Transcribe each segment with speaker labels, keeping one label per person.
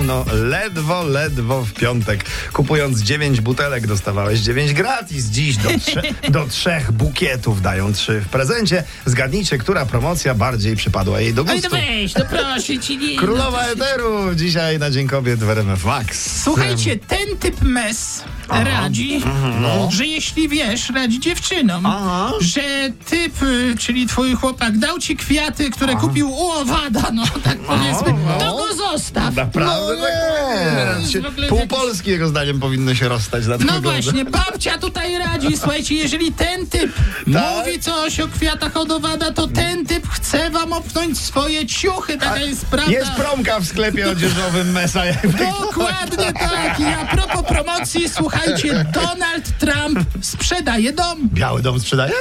Speaker 1: rano, No, ledwo, ledwo w piątek. Kupując 9 butelek dostawałeś 9 gratis. Dziś do, trze- do trzech bukietów dają trzy w prezencie. Zgadnijcie, która promocja bardziej przypadła jej do
Speaker 2: No i to
Speaker 1: gustu.
Speaker 2: weź, no proszę ci. Nie,
Speaker 1: Królowa Eteru dzisiaj na Dzień Kobiet w RMF Max.
Speaker 2: Słuchajcie, ten typ mes radzi, że jeśli wiesz, radzi dziewczynom,
Speaker 1: Mhm, no. Aha.
Speaker 2: że typ, y, czyli twój chłopak, dał ci kwiaty, które kupił u owada, no tak powiedzmy, to go zostaw.
Speaker 1: no. Naprawdę
Speaker 2: no,
Speaker 1: tak
Speaker 2: nie.
Speaker 1: Się-
Speaker 2: W ogóle
Speaker 1: Pół
Speaker 2: jakiś-
Speaker 1: Polski jego zdaniem powinno się rozstać za
Speaker 2: no właśnie, babcia tutaj radzi, słuchajcie, jeżeli ten typ
Speaker 1: Tak?
Speaker 2: mówi coś o kwiatach od owada, to ten typ chce wam obciąć swoje ciuchy, taka jest prawda.
Speaker 1: Jest promka w sklepie odzieżowym Mesa. jakby.
Speaker 2: tak. Dokładnie tak. I a propos promocji, słuchajcie, Donald Trump sprzedaje dom.
Speaker 1: Biały dom sprzedaje?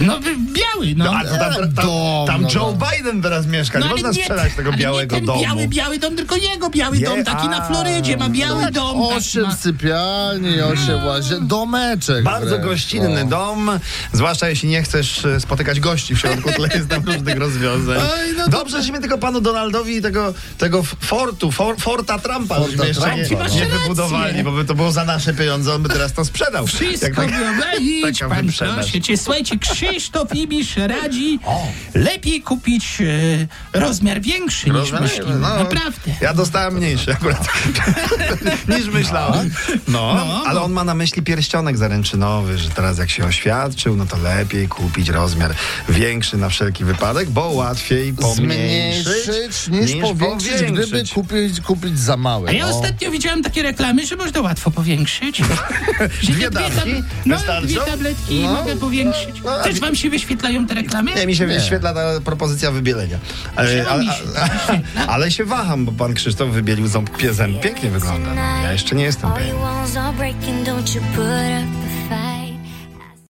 Speaker 2: No wy- biały, no.
Speaker 1: A to tam, tam,
Speaker 3: Dom,
Speaker 1: tam
Speaker 3: no,
Speaker 1: Joe Biden teraz mieszka.
Speaker 2: No,
Speaker 1: nie
Speaker 2: ale
Speaker 1: można
Speaker 2: nie-
Speaker 1: sprzedać tego
Speaker 2: ale
Speaker 1: białego
Speaker 2: nie ten
Speaker 1: domu.
Speaker 2: biały, biały dom, tylko jego biały
Speaker 1: Nie,
Speaker 2: dom, taki
Speaker 1: a, no,
Speaker 2: na Florydzie ma biały dom.
Speaker 3: Osiem
Speaker 2: taki ma.
Speaker 3: sypialni, osiem łazien, domeczek.
Speaker 1: Bardzo
Speaker 3: wręcz,
Speaker 1: gościnny
Speaker 3: no.
Speaker 1: dom, zwłaszcza jeśli nie chcesz e, spotykać gości w środku, tyle jest tam różnych rozwiązań.
Speaker 2: Oj, no to-
Speaker 1: Dobrze, żeśmy tylko panu Donaldowi tego, tego fortu, for, Forta Trumpa,
Speaker 3: Forta
Speaker 1: żeśmy jeszcze
Speaker 3: Trumpa,
Speaker 1: nie,
Speaker 2: no.
Speaker 1: nie wybudowali, bo by to było za nasze pieniądze, on by teraz to sprzedał. Jak
Speaker 2: Wszystko
Speaker 1: tak-
Speaker 2: wyobrazić,
Speaker 1: taka
Speaker 2: pan
Speaker 1: wyprzedaż.
Speaker 2: proszę cię. Słuchajcie, Krzysztof Ibisz radzi lepiej kupić e, rozmiar większy niż
Speaker 1: Rozumiem,
Speaker 2: myślimy.
Speaker 1: no.
Speaker 2: Naprawdę.
Speaker 1: Ja dostałem mniejszy akurat niż myślałem. No, ale on ma na myśli pierścionek zaręczynowy, że teraz jak się oświadczył, no to lepiej kupić rozmiar większy na wszelki wypadek, bo łatwiej pomniejszyć
Speaker 3: Zmniejszyć niż powiększyć, gdyby kupić, kupić za małe.
Speaker 2: A ja
Speaker 3: no.
Speaker 2: ostatnio widziałem takie reklamy, że można łatwo powiększyć. Że
Speaker 1: Dwie
Speaker 2: te tab-
Speaker 1: dawki
Speaker 2: no,
Speaker 1: wystarczą?
Speaker 2: dwie tabletki i
Speaker 1: No.
Speaker 2: mogę powiększyć.
Speaker 1: No, a
Speaker 2: Też
Speaker 1: mi-
Speaker 2: wam się wyświetlają te reklamy?
Speaker 1: Nie, mi się wyświetla ta propozycja wybielenia. E, Ale,
Speaker 2: Czemu mi się
Speaker 1: ale się waham, bo pan Krzysztof wybielił ząb piezem. Pięknie wygląda. Ja jeszcze nie jestem
Speaker 4: All
Speaker 1: pewien.
Speaker 4: your walls are breaking, don't you put up a fight.